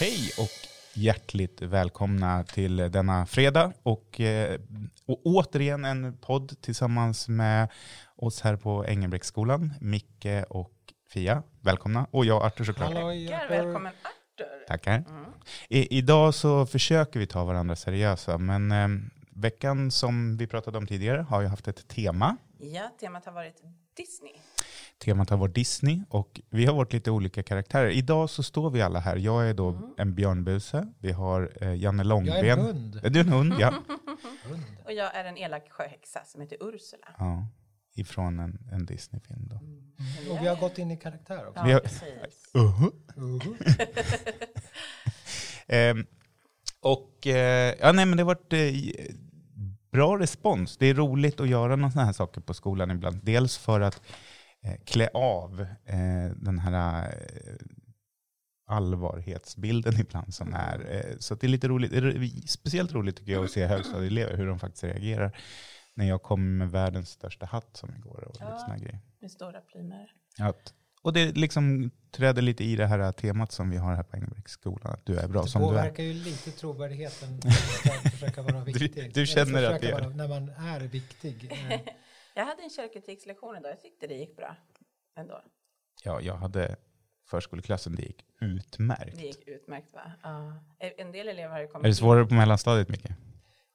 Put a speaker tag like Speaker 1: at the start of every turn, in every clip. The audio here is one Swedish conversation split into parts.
Speaker 1: Hej och hjärtligt välkomna till denna fredag och, eh, och återigen en podd tillsammans med oss här på Engelbrektsskolan, Micke och Fia. Välkomna och jag Artur såklart.
Speaker 2: Tackar, välkommen Arthur.
Speaker 1: Tackar.
Speaker 3: Mm.
Speaker 1: I, idag så försöker vi ta varandra seriösa men eh, veckan som vi pratade om tidigare har ju haft ett tema.
Speaker 2: Ja, temat har varit Disney.
Speaker 1: Temat har varit Disney och vi har varit lite olika karaktärer. Idag så står vi alla här. Jag är då en björnbuse. Vi har eh, Janne Långben.
Speaker 3: Mm. Jag är en hund.
Speaker 1: Är du en hund? Ja.
Speaker 3: hund.
Speaker 2: Och jag är en elak sjöhäxa som heter Ursula.
Speaker 1: ja. Ifrån en, en Disney-film då.
Speaker 3: Och vi har gått in i karaktär också.
Speaker 2: Ja,
Speaker 1: Vi har-
Speaker 2: precis.
Speaker 1: Uh-huh.
Speaker 3: Uh-huh.
Speaker 1: Ehm, och eh, ja, nej, men det har varit eh, bra respons. Det är roligt att göra några sådana här saker på skolan ibland. Dels för att eh, klä av eh, den här eh, allvarhetsbilden ibland som är. Eh, så att det är lite roligt. Det är speciellt roligt tycker jag att se högstadieelever hur de faktiskt reagerar. När jag kom med världens största hatt som igår och lite
Speaker 2: Ja.
Speaker 1: såna här grejer.
Speaker 2: Med stora plymer.
Speaker 1: Att, och det liksom träder lite i det här temat som vi har här på Engelbrektsskolan, att du är bra
Speaker 3: Det
Speaker 1: som du är.
Speaker 3: påverkar ju lite trovärdigheten när man försöker vara viktig.
Speaker 1: du
Speaker 3: Eller
Speaker 1: känner att det
Speaker 3: försöka
Speaker 1: gör
Speaker 3: vara- När man är viktig. Eh,
Speaker 2: Jag hade en kärlekritikslektion idag. Jag tyckte det gick bra ändå.
Speaker 1: Ja, jag hade förskoleklassen, det gick utmärkt.
Speaker 2: Det gick utmärkt va? Ja. En del elever har ju kommit
Speaker 1: Är det svårare på mellanstadiet, Micke?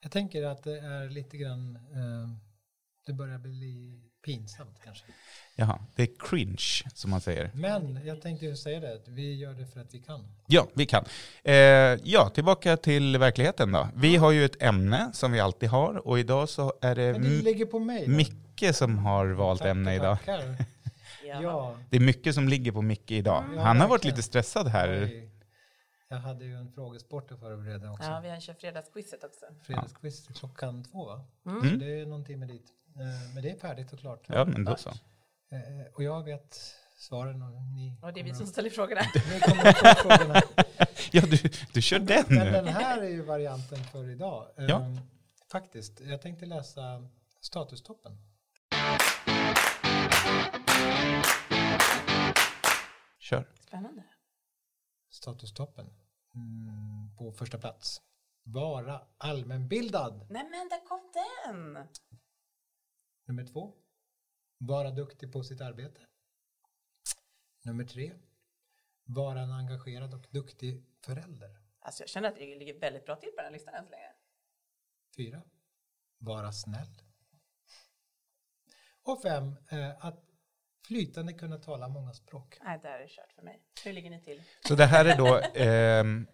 Speaker 3: Jag tänker att det är lite grann, eh, det börjar bli pinsamt kanske.
Speaker 1: Jaha, det är cringe som man säger.
Speaker 3: Men jag tänkte ju säga det, att vi gör det för att vi kan.
Speaker 1: Ja, vi kan. Eh, ja, tillbaka till verkligheten då. Vi har ju ett ämne som vi alltid har och idag så är det
Speaker 3: Men det
Speaker 1: M-
Speaker 3: ligger på mig. då.
Speaker 1: Micke som har valt
Speaker 3: Tackar,
Speaker 1: ämne idag.
Speaker 3: tackar.
Speaker 2: in. Ja.
Speaker 3: Ja.
Speaker 1: Det är mycket som ligger på Micke idag.
Speaker 3: Ja,
Speaker 1: Han har varit
Speaker 3: verkligen.
Speaker 1: lite stressad här.
Speaker 3: oj. Jag hade ju en frågesport att förbereda också.
Speaker 2: ja, vi har kört fredagsquizet också.
Speaker 3: fredagsquiz klockan två. va?
Speaker 2: Mm.
Speaker 3: Så det är någon timme dit. Eh, Men det är färdigt och klart.
Speaker 1: Ja, men då så.
Speaker 3: Eh, Och jag vet svaren och ni
Speaker 2: Och det är
Speaker 3: kommer
Speaker 2: vi som
Speaker 3: att-
Speaker 2: ställer frågorna.
Speaker 3: Ni kommer att få frågorna.
Speaker 1: Ja, du, du kör den
Speaker 3: Men
Speaker 1: nu.
Speaker 3: den här är ju varianten för idag. Eh,
Speaker 1: Mm. Ja.
Speaker 3: Faktiskt, jag tänkte läsa statustoppen.
Speaker 1: Kör.
Speaker 2: Spännande.
Speaker 3: Statustoppen mm, på första plats. Vara allmänbildad.
Speaker 2: Nej men där kom den!
Speaker 3: Nummer två. Vara duktig på sitt arbete. Nummer tre. Vara en engagerad och duktig förälder.
Speaker 2: Alltså jag känner att det ligger väldigt bra till på den här listan än så länge.
Speaker 3: Fyra. Vara snäll. Och fem. Eh, att flytande kunna tala många språk.
Speaker 2: Nej, där är det kört för mig. Hur ligger ni till?
Speaker 1: Så det här är då ehm,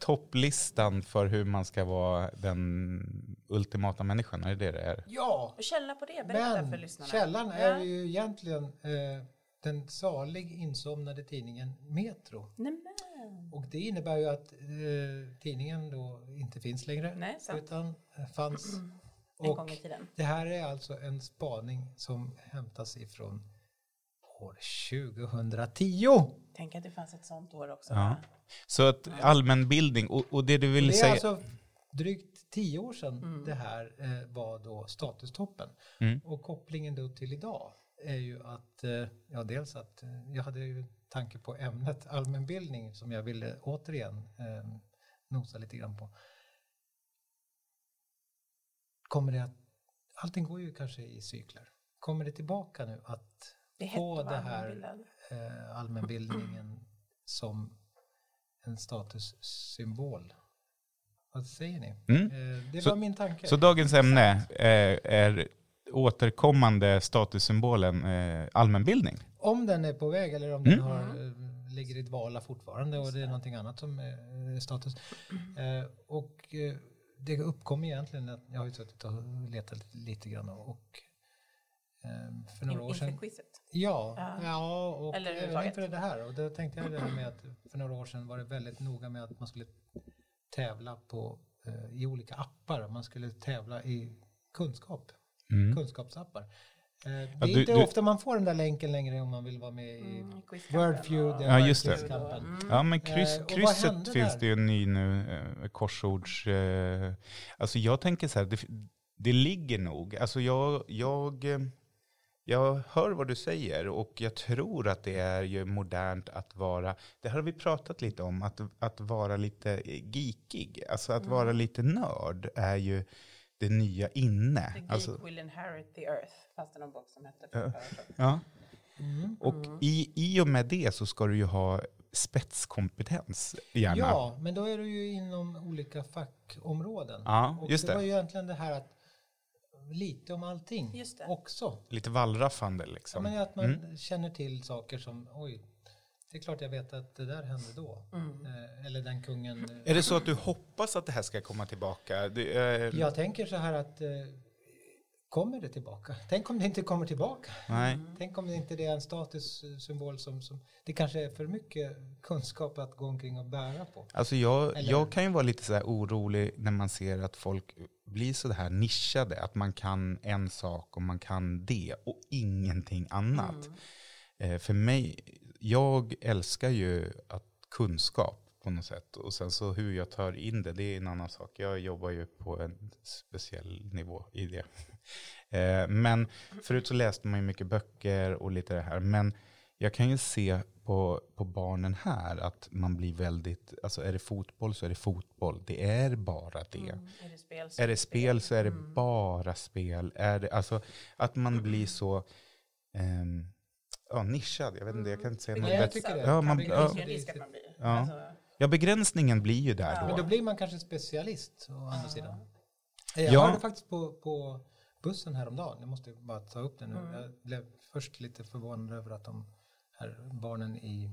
Speaker 1: topplistan för hur man ska vara den ultimata människan. Är det det det är?
Speaker 3: Ja,
Speaker 2: Och källa på det, berätta för
Speaker 3: men
Speaker 2: lyssnarna.
Speaker 3: källan
Speaker 2: Ja.
Speaker 3: är ju egentligen eh, den salig insomnade tidningen Metro.
Speaker 2: Nej, men.
Speaker 3: Och det innebär ju att eh, tidningen då inte finns längre.
Speaker 2: Nej, sant.
Speaker 3: utan eh, fanns.
Speaker 2: En
Speaker 3: Och
Speaker 2: gång i tiden.
Speaker 3: det här är alltså en spaning som hämtas ifrån år 2010.
Speaker 2: Tänk att det fanns ett sånt år också.
Speaker 1: Ja.
Speaker 2: va?
Speaker 1: Så att allmänbildning, och, och det du vill
Speaker 3: det är
Speaker 1: säga...
Speaker 3: alltså drygt tio år sedan det här eh, var då statustoppen.
Speaker 1: Mm.
Speaker 3: Och kopplingen då till idag är ju att, eh, ja dels att eh, jag hade ju tanke på ämnet allmänbildning som jag ville återigen eh, nosa lite grann på. Kommer det att, allting går ju kanske i cykler. Kommer det tillbaka nu att
Speaker 2: Det är hett
Speaker 3: få
Speaker 2: att
Speaker 3: det
Speaker 2: vara
Speaker 3: här
Speaker 2: allmänbildad.
Speaker 3: eh, allmänbildningen som en statussymbol? Vad säger ni?
Speaker 1: Mm.
Speaker 3: Eh, det
Speaker 1: Så-
Speaker 3: var min tanke.
Speaker 1: Så dagens ämne eh, är återkommande statussymbolen eh, allmänbildning.
Speaker 3: Om den är på väg eller om
Speaker 1: Mm.
Speaker 3: den har, eh, ligger i dvala fortfarande och det är någonting annat som är eh, status. Eh, och eh, det uppkom egentligen att jag har ju suttit och letat lite grann och eh, för
Speaker 2: In-
Speaker 3: några år
Speaker 2: Inför
Speaker 3: sedan.
Speaker 2: quizet.
Speaker 3: Ja,
Speaker 2: Ja.
Speaker 3: ja och
Speaker 2: Eller
Speaker 3: även
Speaker 2: överhuvudtaget.
Speaker 3: inför det här. Och då tänkte jag det här med att för några år sedan var det väldigt noga med att man skulle tävla på, eh, i olika appar. Man skulle tävla i kunskap kunskapsappar. Eh, Det är
Speaker 1: Mm. Ja, du-
Speaker 3: inte
Speaker 1: du-
Speaker 3: ofta man får den där länken längre om man vill vara med i
Speaker 2: Mm, quizkampen Mm.
Speaker 3: Wordfeud.
Speaker 2: och-
Speaker 1: Ja, just det.
Speaker 3: Wordfeud-kampen.
Speaker 1: Ja, men kryss,
Speaker 3: Eh, och vad hände
Speaker 1: krysset finns
Speaker 3: där?
Speaker 1: det ju en ny nu, eh, korsords... Eh, alltså jag tänker så här, det, det ligger nog. Alltså jag, jag eh, Jag hör vad du säger och jag tror att det är ju modernt att vara, det här har vi pratat lite om, att, att vara lite eh, geekig. Alltså att
Speaker 2: Mm.
Speaker 1: vara lite nörd är ju det nya inne.
Speaker 2: The geek
Speaker 1: Alltså,
Speaker 2: will inherit the earth, fanns det någon bok som hette.
Speaker 1: Ja.
Speaker 2: förut.
Speaker 1: ja.
Speaker 3: Mm.
Speaker 1: Och
Speaker 2: Mm.
Speaker 1: i, i och med det så ska du ju ha spetskompetens gärna.
Speaker 3: Ja, men då är du ju inom olika fackområden.
Speaker 1: Ja,
Speaker 3: Och
Speaker 1: just
Speaker 3: det,
Speaker 1: det.
Speaker 3: var ju egentligen det här att lite om allting
Speaker 2: Just det.
Speaker 3: också.
Speaker 1: Lite wallraffande
Speaker 3: Ja,
Speaker 1: liksom.
Speaker 3: men att man känner till saker som, oj, det är klart jag vet att det där hände då. Eh, Eller den kungen. eh,
Speaker 1: Är det så att du hoppas att det här ska komma tillbaka? Det, eh,
Speaker 3: Jag tänker så här att eh, kommer det tillbaka? Tänk om det inte kommer tillbaka?
Speaker 1: Nej.
Speaker 3: Tänk om det inte det är en statussymbol som, som det kanske är för mycket kunskap att gå omkring och bära på.
Speaker 1: Alltså jag,
Speaker 3: Eller-
Speaker 1: jag kan ju vara lite så här orolig när man ser att folk blir så här nischade. Att man kan en sak och man kan det och ingenting annat.
Speaker 3: Mm.
Speaker 1: Eh, för mig, jag älskar ju att kunskap på något sätt. Och sen så hur jag tar in det, det är en annan sak. Jag jobbar ju på en speciell nivå i det. Eh, men förut så läste man ju mycket böcker och lite det här. Men jag kan ju se på, på barnen här att man blir väldigt, alltså är det fotboll så är det fotboll. Det är bara det.
Speaker 2: Mm. Är det spel Mm. så
Speaker 1: Är det spel så är det bara spel. Är det, alltså att man
Speaker 2: Mm.
Speaker 1: blir så ehm, ja, nischad. Jag vet inte, jag kan inte säga något
Speaker 3: Nej, jag
Speaker 1: bättre.
Speaker 3: tycker det.
Speaker 1: Ja, man-
Speaker 3: Det är
Speaker 1: ja.
Speaker 2: Det är en risk att man blir.
Speaker 1: Ja.
Speaker 2: Alltså,
Speaker 1: Ja, begränsningen blir ju där
Speaker 2: Ja.
Speaker 1: då.
Speaker 3: Men då blir man kanske specialist å andra sidan. Eh, Jag
Speaker 1: Ja.
Speaker 3: hörde faktiskt på, på bussen häromdagen, jag måste bara ta upp det nu.
Speaker 1: Mm.
Speaker 3: Jag blev först lite förvånad över att de här barnen i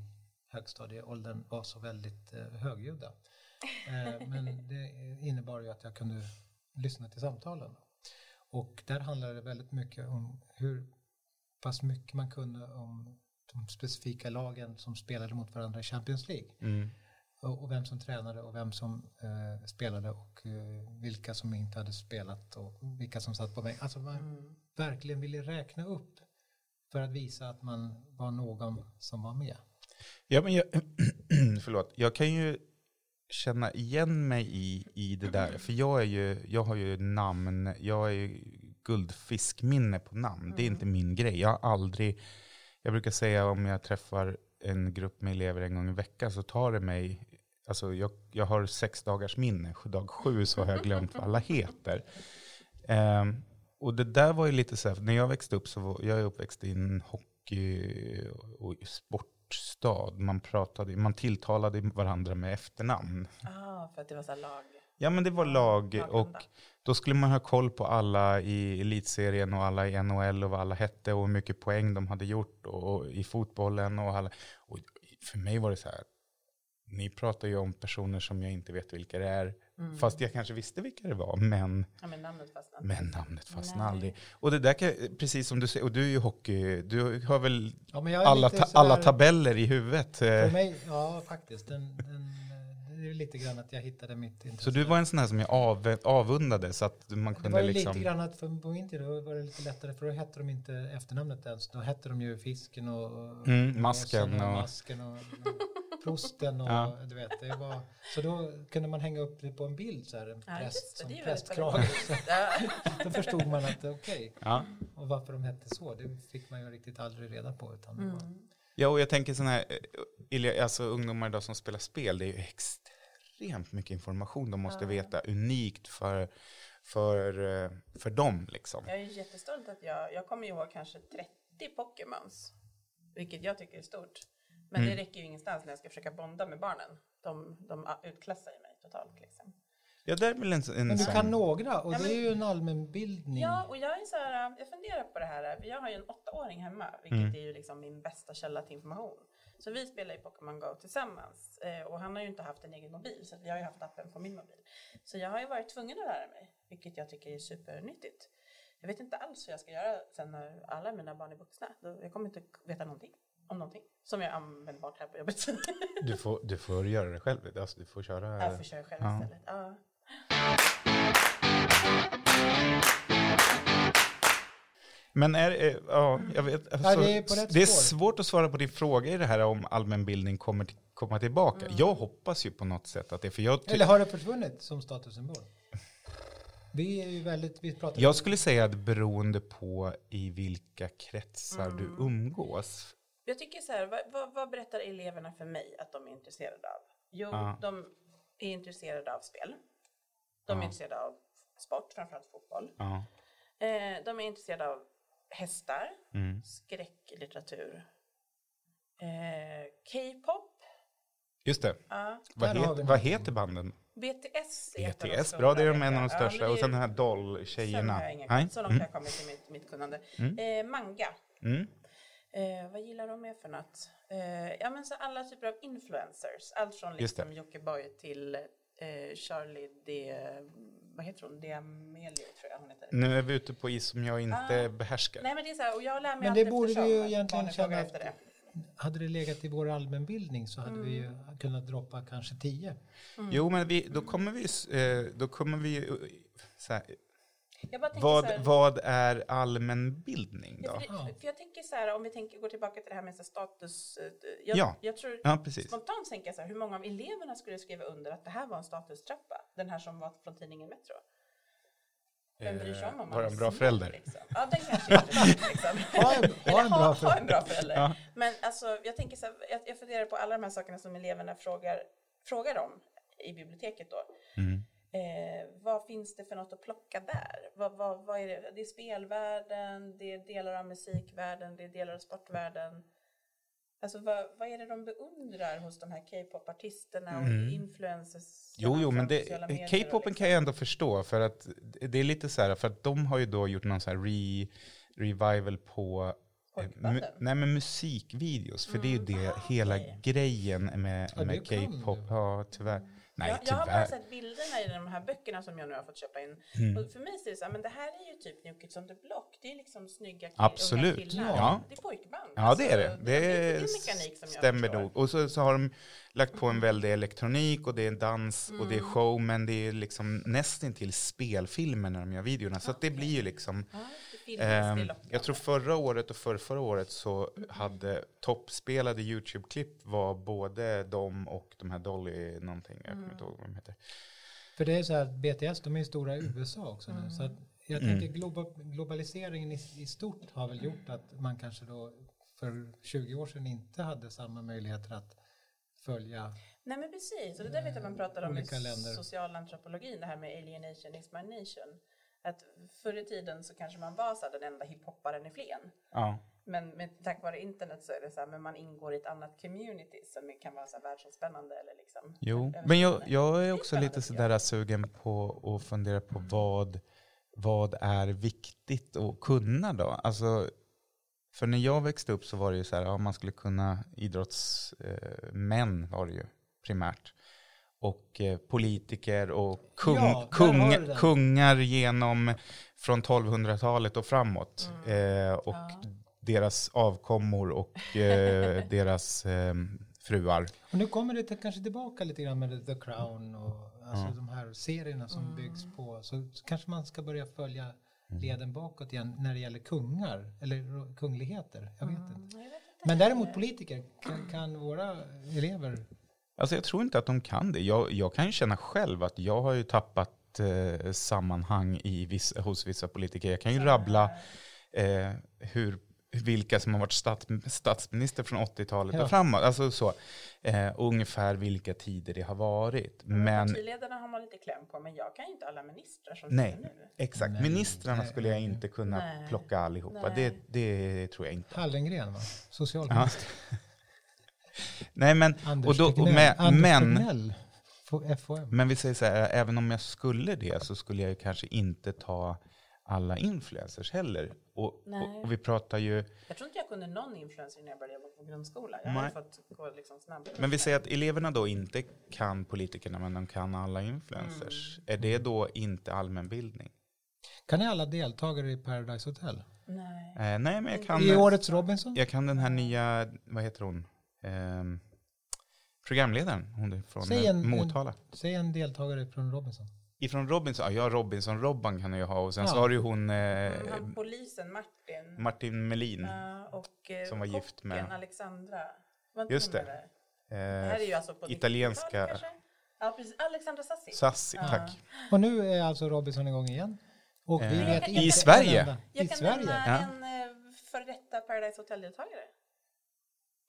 Speaker 3: högstadieåldern var så väldigt eh, högljudda. Eh, men det innebar ju att jag kunde lyssna till samtalen. Och där handlade det väldigt mycket om hur pass mycket man kunde om de specifika lagen som spelade mot varandra i Champions League
Speaker 1: Mm.
Speaker 3: och och vem som tränade och vem som eh, spelade och eh, vilka som inte hade spelat och vilka som satt på mig. Alltså man
Speaker 2: mm.
Speaker 3: verkligen ville räkna upp för att visa att man var någon som var med.
Speaker 1: Ja, men jag, förlåt, jag kan ju känna igen mig i, i det där. För jag, är ju, jag har ju namn, jag är ju guldfiskminne på namn. Det är inte min grej. Jag har aldrig, jag brukar säga om jag träffar en grupp med elever en gång i veckan så tar det mig, alltså jag, jag har sex dagars minne, dag sju så har jag glömt vad alla heter. Ehm, och det där var ju lite så här, för när jag växte upp så var, jag är uppväxt i en hockey och i sportstad. Man pratade, man tilltalade varandra med efternamn.
Speaker 2: ah, för att det var så här lag.
Speaker 1: Ja men det var lag
Speaker 2: Laganda.
Speaker 1: och då skulle man ha koll på alla i elitserien och alla i NHL och vad alla hette och hur mycket poäng de hade gjort och, och i fotbollen och alla. Och för mig var det så här, ni pratar ju om personer som jag inte vet vilka det är.
Speaker 3: Mm.
Speaker 1: Fast jag kanske visste vilka det var, men
Speaker 2: Mm. Ja, men namnet fastnade.
Speaker 1: men namnet fastnar
Speaker 2: Nej.
Speaker 1: aldrig. Och det där kan, precis som du säger, och du är ju hockey, du har väl
Speaker 3: Ja, men jag är
Speaker 1: alla,
Speaker 3: lite
Speaker 1: ta,
Speaker 3: sådär-
Speaker 1: alla tabeller i huvudet. eh.
Speaker 3: För mig, ja faktiskt. Den, den, eh, det är lite grann att jag hittade mitt intresse.
Speaker 1: Så du var en sån här som jag av, avundade så att man
Speaker 3: det
Speaker 1: kunde
Speaker 3: var ju
Speaker 1: liksom...
Speaker 3: lite grann att för på min tid då var det lite lättare för då hette de inte efternamnet ens. Då hette de ju fisken och
Speaker 1: Mm,
Speaker 3: och
Speaker 1: masken
Speaker 3: sådana,
Speaker 1: och-
Speaker 3: masken och prosten och
Speaker 1: Ja.
Speaker 3: du vet. Det var, så då kunde man hänga upp det på en bild så här. En
Speaker 2: Ja,
Speaker 3: präst
Speaker 2: just det,
Speaker 3: som
Speaker 2: det är ju väldigt
Speaker 3: prästkrage.
Speaker 2: pedagogiskt. Ja.
Speaker 3: då förstod man att det är okej.
Speaker 1: Ja.
Speaker 3: Och varför de hette så, det fick man ju riktigt aldrig reda på. Utan
Speaker 2: Mm.
Speaker 3: det
Speaker 1: Mm,
Speaker 3: var-
Speaker 1: ja, och jag tänker sån här, eh, ele- alltså ungdomar idag som spelar spel, det är ju extremt mycket information de måste veta, unikt för, för, eh, för dem liksom.
Speaker 2: Jag är ju jättestolt att jag, jag kommer ju ihåg kanske 30 Pokémons, vilket jag tycker är stort. Men det räcker ju ingenstans när jag ska försöka bonda med barnen. De, de utklassar ju mig totalt liksom.
Speaker 1: Ja, det är väl en, en
Speaker 3: Men du
Speaker 1: sån...
Speaker 3: kan några och
Speaker 2: Ja,
Speaker 3: det
Speaker 2: men-
Speaker 3: är ju en allmänbildning.
Speaker 2: Ja, och jag är så här, äh, jag funderar på det här. äh, för Jag har ju en åttaåring hemma, vilket är ju liksom min bästa källa till information. Så vi spelar ju Pokémon Go tillsammans eh, och han har ju inte haft en egen mobil så vi har ju haft appen på min mobil. Så jag har ju varit tvungen att lära mig, vilket jag tycker är supernyttigt. Jag vet inte alls hur jag ska göra sen när alla mina barn är vuxna. Då- Jag kommer inte veta någonting om någonting som jag är användbart här på jobbet.
Speaker 1: Du, får, du får göra det själv, alltså, du får köra...
Speaker 2: jag får köra själv
Speaker 1: Ja.
Speaker 2: istället. Ja.
Speaker 1: Men är, eh, ja, jag vet, alltså,
Speaker 3: det är på rätt
Speaker 1: det är
Speaker 3: spår.
Speaker 1: svårt att svara på din fråga i det här om allmänbildning kommer till, komma tillbaka. Jag hoppas ju på något sätt att det, för jag ty-
Speaker 3: Eller har det försvunnit som statussymbol? Vi är ju väldigt, vi pratar
Speaker 2: Mm.
Speaker 1: Jag skulle säga att beroende på i vilka kretsar du
Speaker 2: Mm.
Speaker 1: umgås.
Speaker 2: Jag tycker så här, vad, vad, vad berättar eleverna för mig att de är intresserade av? Jo,
Speaker 1: Ja.
Speaker 2: de är intresserade av spel. De är
Speaker 1: Ja.
Speaker 2: intresserade av sport, framförallt fotboll.
Speaker 1: Ja.
Speaker 2: Eh, de är intresserade av hästar,
Speaker 1: Mm.
Speaker 2: skräcklitteratur, eh, K-pop.
Speaker 1: Just det.
Speaker 2: Ja.
Speaker 1: Vad,
Speaker 3: Där har vi
Speaker 1: het, vad heter banden?
Speaker 2: BTS är ett av de
Speaker 1: BTS,
Speaker 2: stora,
Speaker 1: bra det är de
Speaker 2: vet
Speaker 1: en av
Speaker 2: jag.
Speaker 1: de
Speaker 2: Ja, men
Speaker 1: största.
Speaker 2: det är-
Speaker 1: Och sen den här
Speaker 2: Sen
Speaker 1: doll-tjejerna.
Speaker 2: har jag ingen
Speaker 1: Nej.
Speaker 2: koll, så långt har
Speaker 1: Mm.
Speaker 2: jag kommit i mitt, mitt kunnande.
Speaker 1: Mm.
Speaker 2: Eh, manga,
Speaker 1: Mm.
Speaker 2: eh, vad gillar de mer för något? Eh, ja men så alla typer av influencers, allt från
Speaker 1: Just det.
Speaker 2: liksom Jockiboi till eh, Charlie de, vad heter hon, D'Amelio tror jag hon heter.
Speaker 1: Nu är vi ute på is som jag inte behärskar.
Speaker 2: Ah. Nej men det är så här, och jag lär mig
Speaker 3: Men
Speaker 2: allt
Speaker 3: det borde vi
Speaker 2: eftersom,
Speaker 3: ju
Speaker 2: att
Speaker 3: egentligen
Speaker 2: barnen frågar
Speaker 3: känna
Speaker 2: efter det.
Speaker 3: att- Hade det legat i vår allmänbildning så hade vi
Speaker 2: Mm.
Speaker 3: ju kunnat droppa kanske tio.
Speaker 1: Jo, men vi, då kommer vi... s- eh, Då kommer vi eh, så här,
Speaker 2: Jag bara tänker
Speaker 1: vad,
Speaker 2: så här,
Speaker 1: vad är allmänbildning
Speaker 2: Ja,
Speaker 1: då?
Speaker 2: för, det, för jag tänker så här, om vi tänker, går tillbaka till det här med så här status. eh, Jag,
Speaker 1: Ja.
Speaker 2: jag tror
Speaker 1: Ja, precis.
Speaker 2: spontant tänker jag så här, hur många av eleverna skulle skriva under att det här var en statustrappa? Den här som var från tidningen Metro. Vem bryr sig om om man
Speaker 1: vara
Speaker 2: är
Speaker 1: Eh, en bra
Speaker 2: snäll,
Speaker 1: förälder.
Speaker 2: Liksom? Ja, den kanske inte är liksom.
Speaker 3: Ha en, ha en
Speaker 2: Eller
Speaker 3: bra
Speaker 2: ha en
Speaker 3: fråga.
Speaker 2: bra förälder.
Speaker 1: Ja.
Speaker 2: Men alltså, jag, tänker så här, jag, jag funderar på alla de här sakerna som eleverna frågar, frågar om i biblioteket då.
Speaker 1: Mm.
Speaker 2: Eh, vad finns det för något att plocka där? Vad, vad, vad är det? det är spelvärlden, det är delar av musikvärlden, det är delar av sportvärlden. Alltså vad, vad är det de beundrar hos de här K-pop-artisterna och
Speaker 1: Mm.
Speaker 2: influencers?
Speaker 1: Jo, jo,
Speaker 2: från
Speaker 1: men det,
Speaker 2: sociala medier och
Speaker 1: K-popen
Speaker 2: liksom.
Speaker 1: kan jag ändå förstå för att det är lite så här, för att de har ju då gjort någon så här re, revival på eh, mu,
Speaker 2: Pojkbanden.
Speaker 1: nej, men musikvideos, för det är ju det
Speaker 2: Ah,
Speaker 1: hela
Speaker 2: okej. Mm.
Speaker 1: grejen med,
Speaker 3: Ja,
Speaker 1: med
Speaker 3: det kan
Speaker 1: K-pop.
Speaker 3: du.
Speaker 1: Ja, tyvärr. Nej,
Speaker 2: jag, jag har bara
Speaker 1: tyvärr. Mm.
Speaker 2: sett bilderna i de här böckerna som jag nu har fått köpa in. Och för mig ser det så här, men det här är ju typ New Kids on the Block. Det är liksom snygga kill-
Speaker 1: Absolut.
Speaker 2: unga killar.
Speaker 1: Ja.
Speaker 2: Det är pojkband.
Speaker 1: Ja,
Speaker 2: Alltså,
Speaker 1: det är det. Det,
Speaker 2: är en mekanik som jag
Speaker 1: stämmer
Speaker 2: förstår.
Speaker 1: nog. Och så, så har de lagt på en väldig elektronik och det är dans och det
Speaker 2: Mm.
Speaker 1: är show, men det är liksom nästintill spelfilmer när de gör videorna. Så att det blir ju liksom
Speaker 2: Ja, det filmas, det är
Speaker 1: Ehm,
Speaker 2: lockande.
Speaker 1: jag tror förra året och förrförra året så hade toppspelade YouTube-klipp var både de och de här Dolly någonting, jag kommer inte ihåg vad de heter.
Speaker 3: För det är så här att BTS, de är ju stora i USA också nu. Så att jag tänker globa, globaliseringen i, i stort har väl gjort att man kanske då för 20 år sedan inte hade samma möjligheter att följa.
Speaker 2: Nej men precis, och det där vet jag man pratade om i
Speaker 3: olika länder.
Speaker 2: socialantropologin, det här med alienation is my nation. Att förr i tiden så kanske man var så här, den enda hiphopparen i Flen.
Speaker 1: Ja.
Speaker 2: Men med, tack vare internet så är det så här, men man ingår i ett annat community som kan vara så här världsomspännande eller liksom.
Speaker 1: Jo,
Speaker 2: över-
Speaker 1: men jag, jag är
Speaker 2: Det
Speaker 1: också
Speaker 2: är
Speaker 1: lite
Speaker 2: spännande,
Speaker 1: sådär sugen på att fundera på vad, vad är viktigt att kunna då? Alltså, för när jag växte upp så var det ju så här, ja, man skulle kunna idrottsmän var det ju primärt. Och eh, politiker och kung,
Speaker 3: Ja, där har
Speaker 1: kung,
Speaker 3: du den.
Speaker 1: kungar genom från 1200-talet och framåt. Eh, och
Speaker 2: Ja.
Speaker 1: deras avkommor och eh, deras eh, fruar.
Speaker 3: Och nu kommer det till, kanske tillbaka lite grann med The Crown och alltså
Speaker 1: Ja.
Speaker 3: de här serierna som byggs på. Så, så kanske man ska börja följa leden bakåt igen när det gäller kungar eller kungligheter. Jag vet inte.
Speaker 2: Jag vet inte.
Speaker 3: Men däremot politiker, kan, kan våra elever
Speaker 1: Alltså jag tror inte att de kan det. Jag, jag kan ju känna själv att jag har ju tappat eh, sammanhang i viss, hos vissa politiker. Jag kan ju rabbla eh, hur, vilka som har varit stat, statsminister från 80-talet
Speaker 3: Ja.
Speaker 1: och framåt. Alltså så, eh, ungefär vilka tider det har varit.
Speaker 2: Men... typ-
Speaker 1: Men
Speaker 2: Partiledarna har man lite kläm på, men jag kan ju inte alla ministrar som
Speaker 1: Nej.
Speaker 2: sitter nu.
Speaker 1: exakt,
Speaker 3: Nej,
Speaker 1: ministrarna
Speaker 3: nej,
Speaker 1: skulle jag
Speaker 3: nej.
Speaker 1: inte kunna
Speaker 2: Nej.
Speaker 1: plocka allihopa. Det,
Speaker 2: Nej.
Speaker 1: det tror jag inte.
Speaker 3: Hallengren va? Socialminister.
Speaker 1: Nej, men, och
Speaker 3: Anders
Speaker 1: då, och
Speaker 3: Tegnell.
Speaker 1: med,
Speaker 3: Anders
Speaker 1: men
Speaker 3: Tegnell. F- FHM.
Speaker 1: Men vi säger så här, även om jag skulle det så skulle jag ju kanske inte ta alla influencers heller. Och,
Speaker 2: Nej.
Speaker 1: och, och vi pratar ju,
Speaker 2: Jag tror inte jag kunde någon influencer när jag började jobba på grundskola. Jag har
Speaker 1: Nej.
Speaker 2: fått gå liksom snabbare.
Speaker 1: men vi säger att eleverna då inte kan politikerna men de kan alla influencers.
Speaker 2: Mm.
Speaker 1: Är det då inte allmänbildning?
Speaker 3: Kan ni alla deltagare i Paradise Hotel?
Speaker 2: Nej.
Speaker 1: Eh, nej, men
Speaker 2: Mm.
Speaker 1: jag kan,
Speaker 3: I årets Robinson?
Speaker 1: jag kan den här nya, vad heter hon? Ehm, programledaren, hon är från
Speaker 3: Säg
Speaker 1: eh,
Speaker 3: en-
Speaker 1: Motala.
Speaker 3: Säg en deltagare från Robinson.
Speaker 1: Ifrån Robinson, ja, ja Robinson-Robban kan jag ju ha och sen så
Speaker 3: Ja.
Speaker 1: har du ju hon eh,
Speaker 2: Mm, han polisen Martin.
Speaker 1: Martin Melin.
Speaker 2: Ja, och eh,
Speaker 1: Som var gift
Speaker 2: kocken
Speaker 1: med-
Speaker 2: Alexandra. Var inte
Speaker 1: Just
Speaker 2: hon
Speaker 1: det.
Speaker 2: med
Speaker 1: Eh,
Speaker 2: där? Det här är ju alltså på
Speaker 1: italienska-
Speaker 2: 90-talet kanske? Ja, precis. Alexandra Sassi.
Speaker 1: Sassi,
Speaker 2: Ja.
Speaker 1: tack.
Speaker 3: Och nu är alltså Robinson igång igen. Och vi
Speaker 1: Eh,
Speaker 3: vet
Speaker 2: i
Speaker 3: inte en
Speaker 1: Sverige.
Speaker 3: enda- I
Speaker 2: Jag kan
Speaker 3: Sverige?
Speaker 2: nämna
Speaker 1: Ja.
Speaker 2: en eh, före detta Paradise Hotel-deltagare.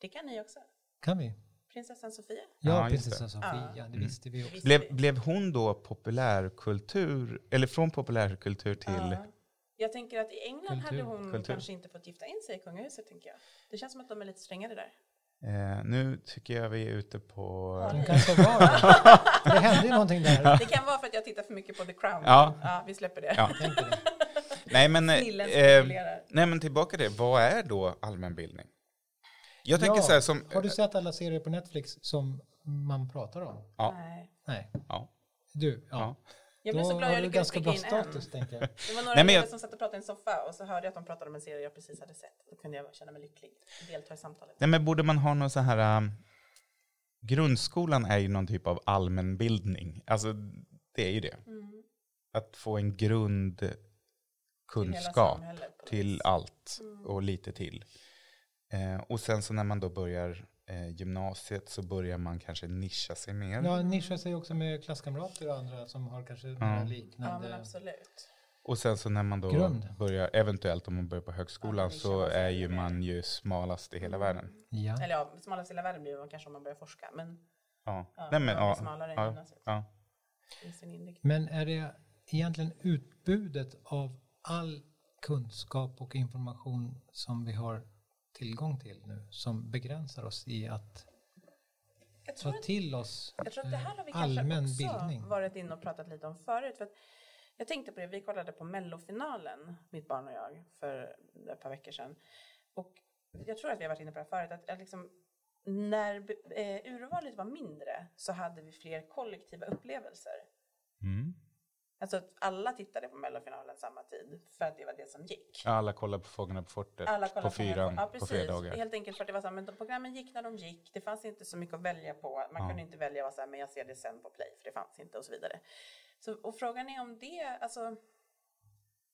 Speaker 2: Det kan ni också.
Speaker 3: Kan vi?
Speaker 2: Prinsessan Sofia.
Speaker 1: Ja,
Speaker 3: Ja,
Speaker 1: just Mm.
Speaker 3: prinsessa Sofia,
Speaker 2: Ja.
Speaker 3: det visste vi också.
Speaker 2: Visst
Speaker 1: Blev,
Speaker 2: vi?
Speaker 1: blev hon då populärkultur, eller från populärkultur till...
Speaker 2: Ja. Eh, Jag tänker att i England
Speaker 3: Kultur.
Speaker 2: hade hon
Speaker 1: Kultur.
Speaker 2: kanske inte fått gifta in sig i kungahuset, tänker jag. Det känns som att de är lite strängare där.
Speaker 1: Eh, nu tycker jag vi är ute på...
Speaker 3: Hon kanske var det. Det hände ju någonting där.
Speaker 2: Det kan vara för att jag tittar för mycket på The Crown.
Speaker 1: Ja.
Speaker 2: vi släpper det.
Speaker 1: Ja.
Speaker 3: Tänker det.
Speaker 1: Nej men, eh,
Speaker 2: Snillen
Speaker 1: eh,
Speaker 2: spekulerar.
Speaker 1: nej men tillbaka till det, vad är då allmänbildning? Jag tänker
Speaker 3: Ja,
Speaker 1: så här som...
Speaker 3: Har du sett alla serier på Netflix som man pratar om?
Speaker 1: Ja.
Speaker 2: Nej.
Speaker 3: Nej.
Speaker 1: Ja.
Speaker 3: Du, ja.
Speaker 1: Ja.
Speaker 2: Jag blev så glad jag
Speaker 3: du
Speaker 2: lyckades
Speaker 3: ganska
Speaker 2: pricka
Speaker 3: bra
Speaker 2: in en.
Speaker 3: status, tänker jag.
Speaker 2: Det var några
Speaker 1: Nej, men
Speaker 2: elever
Speaker 1: jag-
Speaker 2: som satt och pratade i en soffa och så hörde jag att de pratade om en serie jag precis hade sett. Då kunde jag känna mig lycklig och delta i samtalet.
Speaker 1: Nej men borde man ha någon så här... um, grundskolan är ju någon typ av allmänbildning. Alltså det är ju det.
Speaker 2: Mm.
Speaker 1: Att få en grundkunskap
Speaker 2: Till hela samhället på något
Speaker 1: till
Speaker 2: vis.
Speaker 1: allt
Speaker 2: Mm.
Speaker 1: och lite till. Eh, och sen så när man då börjar eh, gymnasiet så börjar man kanske nischa sig mer.
Speaker 3: Ja, nischa sig också med klasskamrater och andra som har kanske några
Speaker 2: Ja, men
Speaker 3: liknande...
Speaker 2: absolut.
Speaker 1: Och sen så när man då
Speaker 3: Grund.
Speaker 1: börjar, eventuellt om man börjar på högskolan
Speaker 2: Ja, det
Speaker 1: så
Speaker 2: känns
Speaker 1: är
Speaker 2: ju
Speaker 1: ju
Speaker 2: mer. Mm.
Speaker 1: man ju smalast i hela världen.
Speaker 3: Ja.
Speaker 2: Eller ja, smalast i hela världen blir man kanske om man börjar forska. Men
Speaker 1: Ja.
Speaker 2: ja,
Speaker 1: Nej, men,
Speaker 2: man blir
Speaker 1: ja,
Speaker 2: smalare än
Speaker 1: ja,
Speaker 2: gymnasiet
Speaker 1: ja.
Speaker 2: i sin inriktning.
Speaker 3: Men är det egentligen utbudet av all kunskap och information som vi har tillgång till nu som begränsar oss i att
Speaker 2: Jag tror
Speaker 3: ta
Speaker 2: att
Speaker 3: till oss
Speaker 2: Jag tror att det här har vi
Speaker 3: eh, allmän
Speaker 2: kanske också
Speaker 3: bildning?
Speaker 2: varit inne och pratat lite om förut. För att jag tänkte på det, vi kollade på mellofinalen, mitt barn och jag, för ett par veckor sedan. Och jag tror att vi har varit inne på det här förut, att, att liksom, när eh, urvalet var mindre så hade vi fler kollektiva upplevelser.
Speaker 1: Mm.
Speaker 2: Alltså att alla tittade på mellofinalen samma tid för att det var det som gick.
Speaker 1: Alla kollar på Fångarna på fortet
Speaker 2: Alla kollade
Speaker 1: på
Speaker 2: den här-
Speaker 1: fyran
Speaker 2: ja,
Speaker 1: på
Speaker 2: precis.
Speaker 1: fredagar.
Speaker 2: Helt enkelt för att det var så här, men de programmen gick när de gick. Det fanns inte så mycket att välja på. Man
Speaker 1: Ja.
Speaker 2: kunde inte välja vad så här, men jag ser det sen på play, för det fanns inte och så vidare. Så, och frågan är om det, alltså,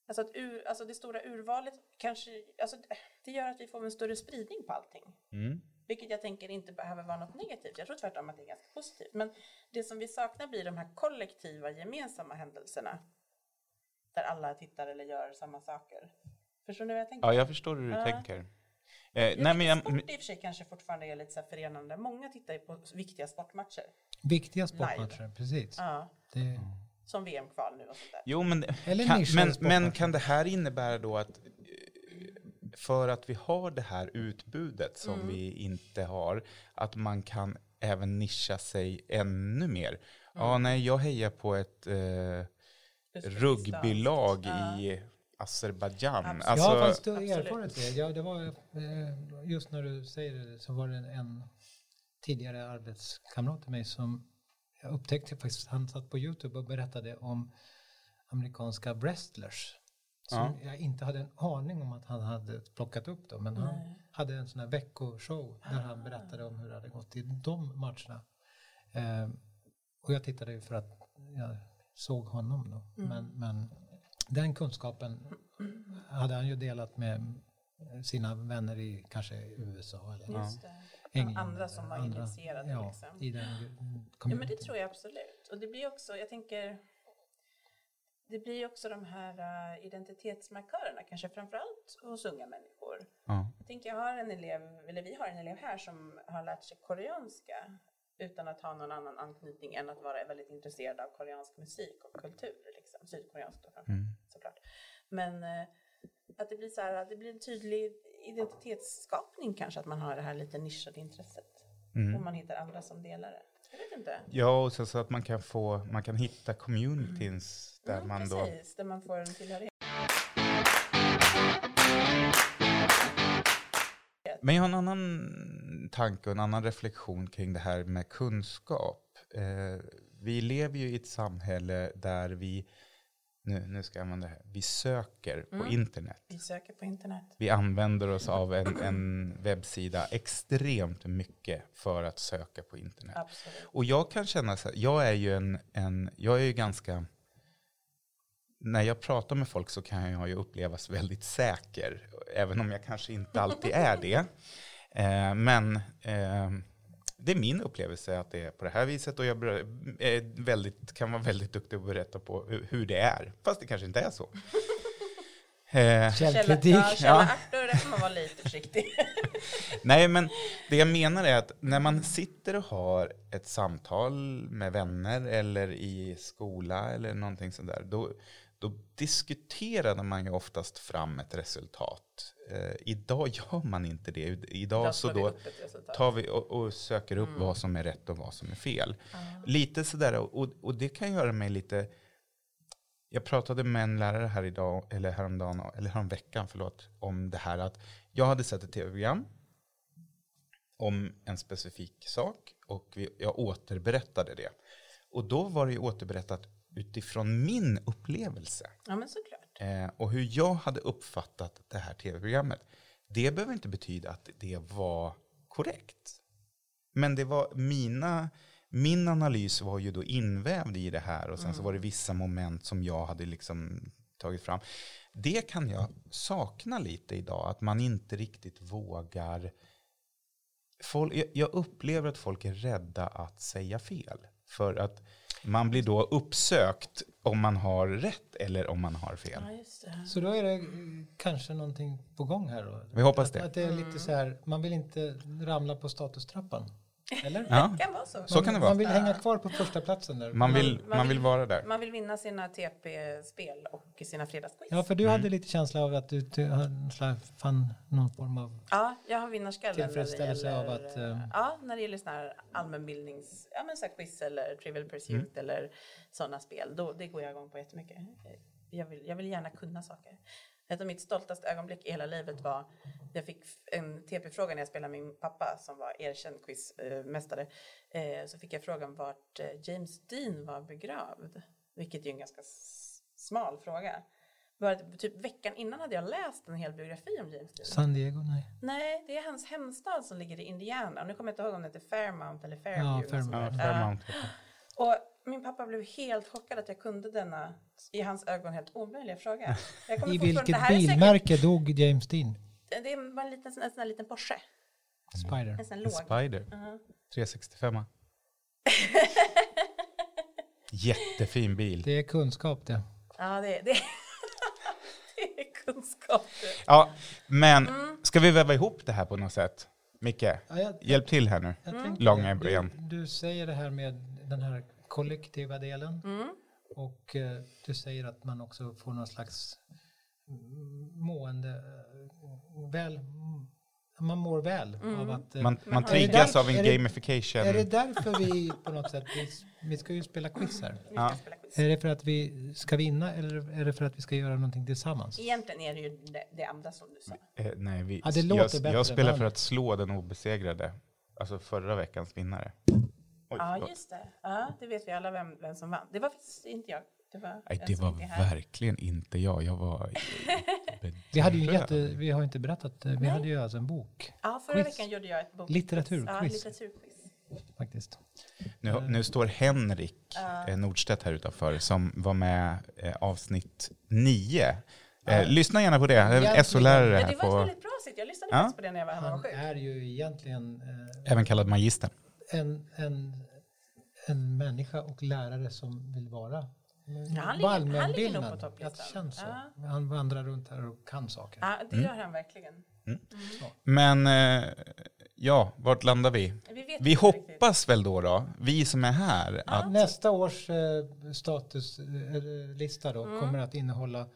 Speaker 2: alltså, att ur, alltså det stora urvalet kanske, alltså, det gör att vi får en större spridning på allting.
Speaker 1: Mm.
Speaker 2: Vilket jag tänker inte behöver vara något negativt. Jag tror tvärtom att det är ganska positivt. Men det som vi saknar blir de här kollektiva, gemensamma händelserna. Där alla tittar eller gör samma saker. Förstår ni vad jag tänker?
Speaker 1: Ja, jag förstår hur du
Speaker 2: Ja.
Speaker 1: tänker. Eh,
Speaker 2: Jag
Speaker 1: nej, men jag,
Speaker 2: sport i och för sig kanske fortfarande är lite så här förenande. Många tittar ju på viktiga sportmatcher.
Speaker 3: Viktiga sportmatcher, precis.
Speaker 2: Ja,
Speaker 3: Det,
Speaker 2: som VM-kval nu och sånt där.
Speaker 1: jo, men,
Speaker 3: Eller
Speaker 1: kan,
Speaker 3: nischade
Speaker 1: Mm. men,
Speaker 3: sportmatcher.
Speaker 1: men kan det här innebära då att eh, för att vi har det här utbudet som
Speaker 2: Mm.
Speaker 1: vi inte har, att man kan även nischa sig ännu mer?
Speaker 2: Mm.
Speaker 1: Ja, nej, jag hejar på ett eh,
Speaker 2: Uzbekistan.
Speaker 1: rugbylag
Speaker 2: Ja.
Speaker 1: i Azerbajdzjan.
Speaker 2: Absolut.
Speaker 1: Alltså,
Speaker 3: ja, fast du har
Speaker 2: Absolut.
Speaker 3: erfarit det. Ja, det var, eh, just när du säger det så var det en, en tidigare arbetskamrat till mig som jag upptäckte faktiskt, han satt på YouTube och berättade om amerikanska wrestlers. Som
Speaker 1: Ja.
Speaker 3: jag inte hade en aning om att han hade plockat upp dem. Men han hade en sån här veckoshow där han berättade om hur det hade gått i de matcherna. Eh, och jag tittade ju för att jag såg honom då.
Speaker 2: Mm.
Speaker 3: Men, men den kunskapen hade han ju delat med sina vänner i kanske USA eller
Speaker 2: Just det.
Speaker 3: England.
Speaker 2: Andra som
Speaker 3: eller
Speaker 2: var initierade,
Speaker 3: Ja,
Speaker 2: liksom.
Speaker 3: i den communityn.
Speaker 2: Ja, men det tror jag absolut. Och det blir också, jag tänker, det blir också de här eh, identitetsmarkörerna, kanske framförallt hos unga människor.
Speaker 1: ja.
Speaker 2: Jag tänker, jag har en elev, eller vi har en elev här som har lärt sig koreanska utan att ha någon annan anknytning än att vara väldigt intresserad av koreansk musik och kultur, liksom. sydkoreansk då, framför
Speaker 1: Mm.
Speaker 2: såklart. Men eh, att det blir, så här, att det blir en tydlig identitetsskapning kanske, att man har det här lite nischade intresset.
Speaker 1: Mm.
Speaker 2: Och man hittar andra som delar det. Jag vet inte.
Speaker 1: Ja, och sen så att man kan, få, man kan hitta communities där
Speaker 2: Mm,
Speaker 1: man då...
Speaker 2: precis, där man får en tillhörighet.
Speaker 1: Men jag har en annan tanke och en annan reflektion kring det här med kunskap. Eh, vi lever ju i ett samhälle där vi, nu, nu ska jag använda det här, vi söker på
Speaker 2: Mm.
Speaker 1: internet.
Speaker 2: Vi söker på internet.
Speaker 1: Vi använder oss av en, en webbsida extremt mycket för att söka på internet.
Speaker 2: Absolut.
Speaker 1: Och jag kan känna så här, jag är ju en, en jag är ju ganska, när jag pratar med folk så kan jag ju upplevas väldigt säker, även om jag kanske inte alltid är det. Eh, men eh, Det är min upplevelse att det är på det här viset och jag ber- är väldigt, kan vara väldigt duktig att berätta på hu- hur det är. Fast det kanske inte är så. Eh,
Speaker 3: Källkritik.
Speaker 2: Källa, ja,
Speaker 1: ja.
Speaker 2: källaaktor, där får man vara lite försiktig.
Speaker 1: Nej, men det jag menar är att när man sitter och har ett samtal med vänner eller i skola eller någonting sådär, då, då diskuterade man ju oftast fram ett resultat. Eh, idag gör man inte det. Idag så
Speaker 2: slår vi
Speaker 1: då
Speaker 2: upp Mm. ett resultat.
Speaker 1: tar vi och, och söker upp vad som är rätt och vad som är fel. Lite sådär, och, och- och det kan göra mig lite... Jag pratade med en lärare här idag, eller häromdagen, eller häromveckan, förlåt, om det här att jag hade sett ett tv-program om en specifik sak och vi, jag återberättade det. Och då var det ju återberättat utifrån min upplevelse
Speaker 2: Ja, men såklart.
Speaker 1: eh, och hur jag hade uppfattat det här tv-programmet. Det behöver inte betyda att det var korrekt. Men det var mina, min analys var ju då invävd i det här och sen
Speaker 2: Mm.
Speaker 1: så var det vissa moment som jag hade liksom tagit fram. Det kan jag sakna lite idag, att man inte riktigt vågar. Folk, jag- jag upplever att folk är rädda att säga fel. För att man blir då uppsökt om man har rätt eller om man har fel.
Speaker 2: Ja, just det.
Speaker 3: Så då är det eh, kanske någonting på gång här då?
Speaker 1: Vi hoppas
Speaker 3: Att,
Speaker 1: det.
Speaker 3: att det är
Speaker 2: Mm.
Speaker 3: lite så här, man vill inte ramla på statustrappan. Eller?
Speaker 1: Ja,
Speaker 2: Det kan vara så.
Speaker 1: Så kan det vara.
Speaker 3: Man vill hänga kvar på första platsen där.
Speaker 1: man, vill,
Speaker 2: Man- man
Speaker 1: man vill
Speaker 2: vill-
Speaker 1: vara där.
Speaker 2: Man vill vinna sina TP-spel och sina fredagsquiz.
Speaker 3: Ja, för du
Speaker 1: Mm.
Speaker 3: hade lite känsla av att du ty- hade en slags- fann någon form av...
Speaker 2: Ja, jag har vinnarskallen. när det
Speaker 3: Tillfredsställelse
Speaker 2: gäller,
Speaker 3: av att, eh,
Speaker 2: Ja, när det gäller såna här allmänbildnings... Ja, men så här quiz eller Trivial
Speaker 3: Mm.
Speaker 2: Pursuit eller sådana spel. Då, det går jag igång på jättemycket. Eh, Jag vill, jag vill gärna kunna saker. Ett av mitt stoltaste ögonblick i hela livet var jag fick en TP-fråga när jag spelade med min pappa som var erkänd quizmästare. Eh, Så fick jag frågan vart eh, James Dean var begravd, vilket är ju en ganska s- smal fråga. Bara typ veckan innan hade jag läst en hel biografi om James Dean.
Speaker 3: San Diego, nej.
Speaker 2: Nej, det är hans hemstad som ligger i Indiana. Nu kommer jag inte ihåg om det heter Fairmount eller Fairview.
Speaker 3: Ja,
Speaker 2: och sånt
Speaker 1: Ja,
Speaker 2: där.
Speaker 1: Fairmount.
Speaker 3: Ah.
Speaker 2: Ja. Och min pappa blev helt chockad att jag kunde denna, i hans ögon, helt omöjliga fråga. Jag kommer
Speaker 3: I
Speaker 2: fortfarande- det
Speaker 3: vilket
Speaker 2: här är säkert-
Speaker 3: bilmärke dog James Dean?
Speaker 2: Det var en, liten, en sån här liten Porsche.
Speaker 3: Spider.
Speaker 2: En sån här
Speaker 1: En
Speaker 2: låg.
Speaker 1: Spider. 365. Jättefin bil.
Speaker 3: Det är kunskap det.
Speaker 2: Ja, det, det, det är kunskap.
Speaker 1: Ja, men
Speaker 2: Mm.
Speaker 1: ska vi väva ihop det här på något sätt? Micke,
Speaker 3: Ja, jag,
Speaker 1: hjälp till här nu.
Speaker 3: jag
Speaker 2: Mm.
Speaker 3: tänkte-
Speaker 1: Långa
Speaker 3: du,
Speaker 1: ben.
Speaker 3: du säger det här med den här kollektiva delen
Speaker 2: Mm.
Speaker 3: och eh, du säger att man också får någon slags mm, mående, eh, väl, man mår väl
Speaker 2: Mm.
Speaker 3: av att eh,
Speaker 1: Man, man
Speaker 2: har-
Speaker 1: triggas
Speaker 3: Är det
Speaker 1: av en
Speaker 3: där- är det- Är det
Speaker 1: gamification.
Speaker 3: därför vi på något sätt, vi, vi ska ju spela quiz här.
Speaker 2: Vi ska
Speaker 1: Ja.
Speaker 2: spela quiz.
Speaker 3: Är det för att vi ska vinna eller är det för att vi ska göra någonting tillsammans?
Speaker 2: Egentligen är det ju det, det andra som du sa.
Speaker 1: Eh, Nej, vi,
Speaker 3: Ja, det
Speaker 1: jag,
Speaker 3: låter bättre,
Speaker 1: jag spelar för
Speaker 3: men-
Speaker 1: att slå den obesegrade. Alltså förra veckans vinnare. Oj,
Speaker 2: Ja,
Speaker 1: förlåt.
Speaker 2: just det. Ja, det vet vi alla vem, vem som vann. Det var faktiskt inte jag. Det var,
Speaker 1: Nej,
Speaker 2: en
Speaker 1: det
Speaker 2: som
Speaker 1: var
Speaker 2: inte är här.
Speaker 1: verkligen inte jag. Jag var...
Speaker 3: Vi hade ju en
Speaker 1: bedrövad.
Speaker 3: jätte, vi har ju inte berättat, eh, vi
Speaker 2: Nej.
Speaker 3: hade ju alltså en bok
Speaker 2: Ja, förra
Speaker 3: Quiz.
Speaker 2: veckan gjorde jag ett bok. Ja,
Speaker 3: Litteraturquiz.
Speaker 2: litteraturquiz.
Speaker 3: faktiskt.
Speaker 1: Nu, nu står Henrik
Speaker 2: Ja.
Speaker 1: eh, Nordstedt här utanför som var med eh, avsnitt nio.
Speaker 3: Ja.
Speaker 1: Eh, lyssna gärna på det.
Speaker 3: Egentligen.
Speaker 1: En SO-lärare
Speaker 2: Ja,
Speaker 1: här
Speaker 2: det var ett
Speaker 1: på,
Speaker 2: väldigt bra sitt. Jag lyssnade
Speaker 1: Ja.
Speaker 2: faktiskt på det när jag var hemma och
Speaker 3: Han
Speaker 2: var sjuk.
Speaker 3: är ju egentligen eh,
Speaker 1: även kallad magister.
Speaker 3: en, en, en människa och lärare som vill vara
Speaker 2: Ja, han ligger- han ligger nog på
Speaker 3: allmänbildad.
Speaker 2: topplistan.
Speaker 3: Det känns så.
Speaker 2: Ja.
Speaker 3: Han vandrar runt här och kan saker.
Speaker 2: Ja, det gör han verkligen.
Speaker 1: Men eh, ja, vart landar vi?
Speaker 2: Vi, vet
Speaker 1: Vi
Speaker 2: inte riktigt.
Speaker 1: hoppas väl då, då vi som är här, att
Speaker 3: Nästa års eh, statuslista då
Speaker 2: Mm.
Speaker 3: kommer att innehålla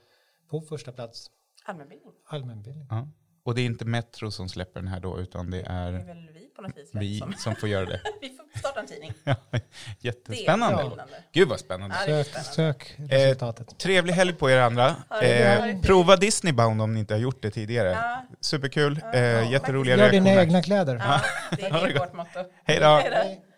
Speaker 3: på första plats
Speaker 2: Allmänbildning.
Speaker 3: allmänbildning.
Speaker 1: ja. Och det är inte Metro som släpper den här då, utan det
Speaker 2: Det
Speaker 1: är
Speaker 2: är väl vi på något vis. Vi,
Speaker 1: vi
Speaker 2: som.
Speaker 1: som får göra det.
Speaker 2: vi får starta en tidning.
Speaker 1: Ja,
Speaker 2: Det är
Speaker 1: Jättespännande.
Speaker 2: spännande.
Speaker 1: Gud vad spännande.
Speaker 2: Ja, det är
Speaker 3: Sök,
Speaker 2: spännande.
Speaker 3: sök resultatet.
Speaker 1: Trevlig helg på er andra.
Speaker 2: Ja, det är bra.
Speaker 1: Eh, prova Disneybound om ni inte har gjort det tidigare.
Speaker 2: Ja,
Speaker 1: Superkul.
Speaker 2: ja.
Speaker 1: Eh, jätteroliga
Speaker 3: Gör dina
Speaker 1: reaktioner.
Speaker 3: egna kläder.
Speaker 2: ja, det är vårt motto.
Speaker 1: Hej då.
Speaker 2: Hej då.
Speaker 3: Hej.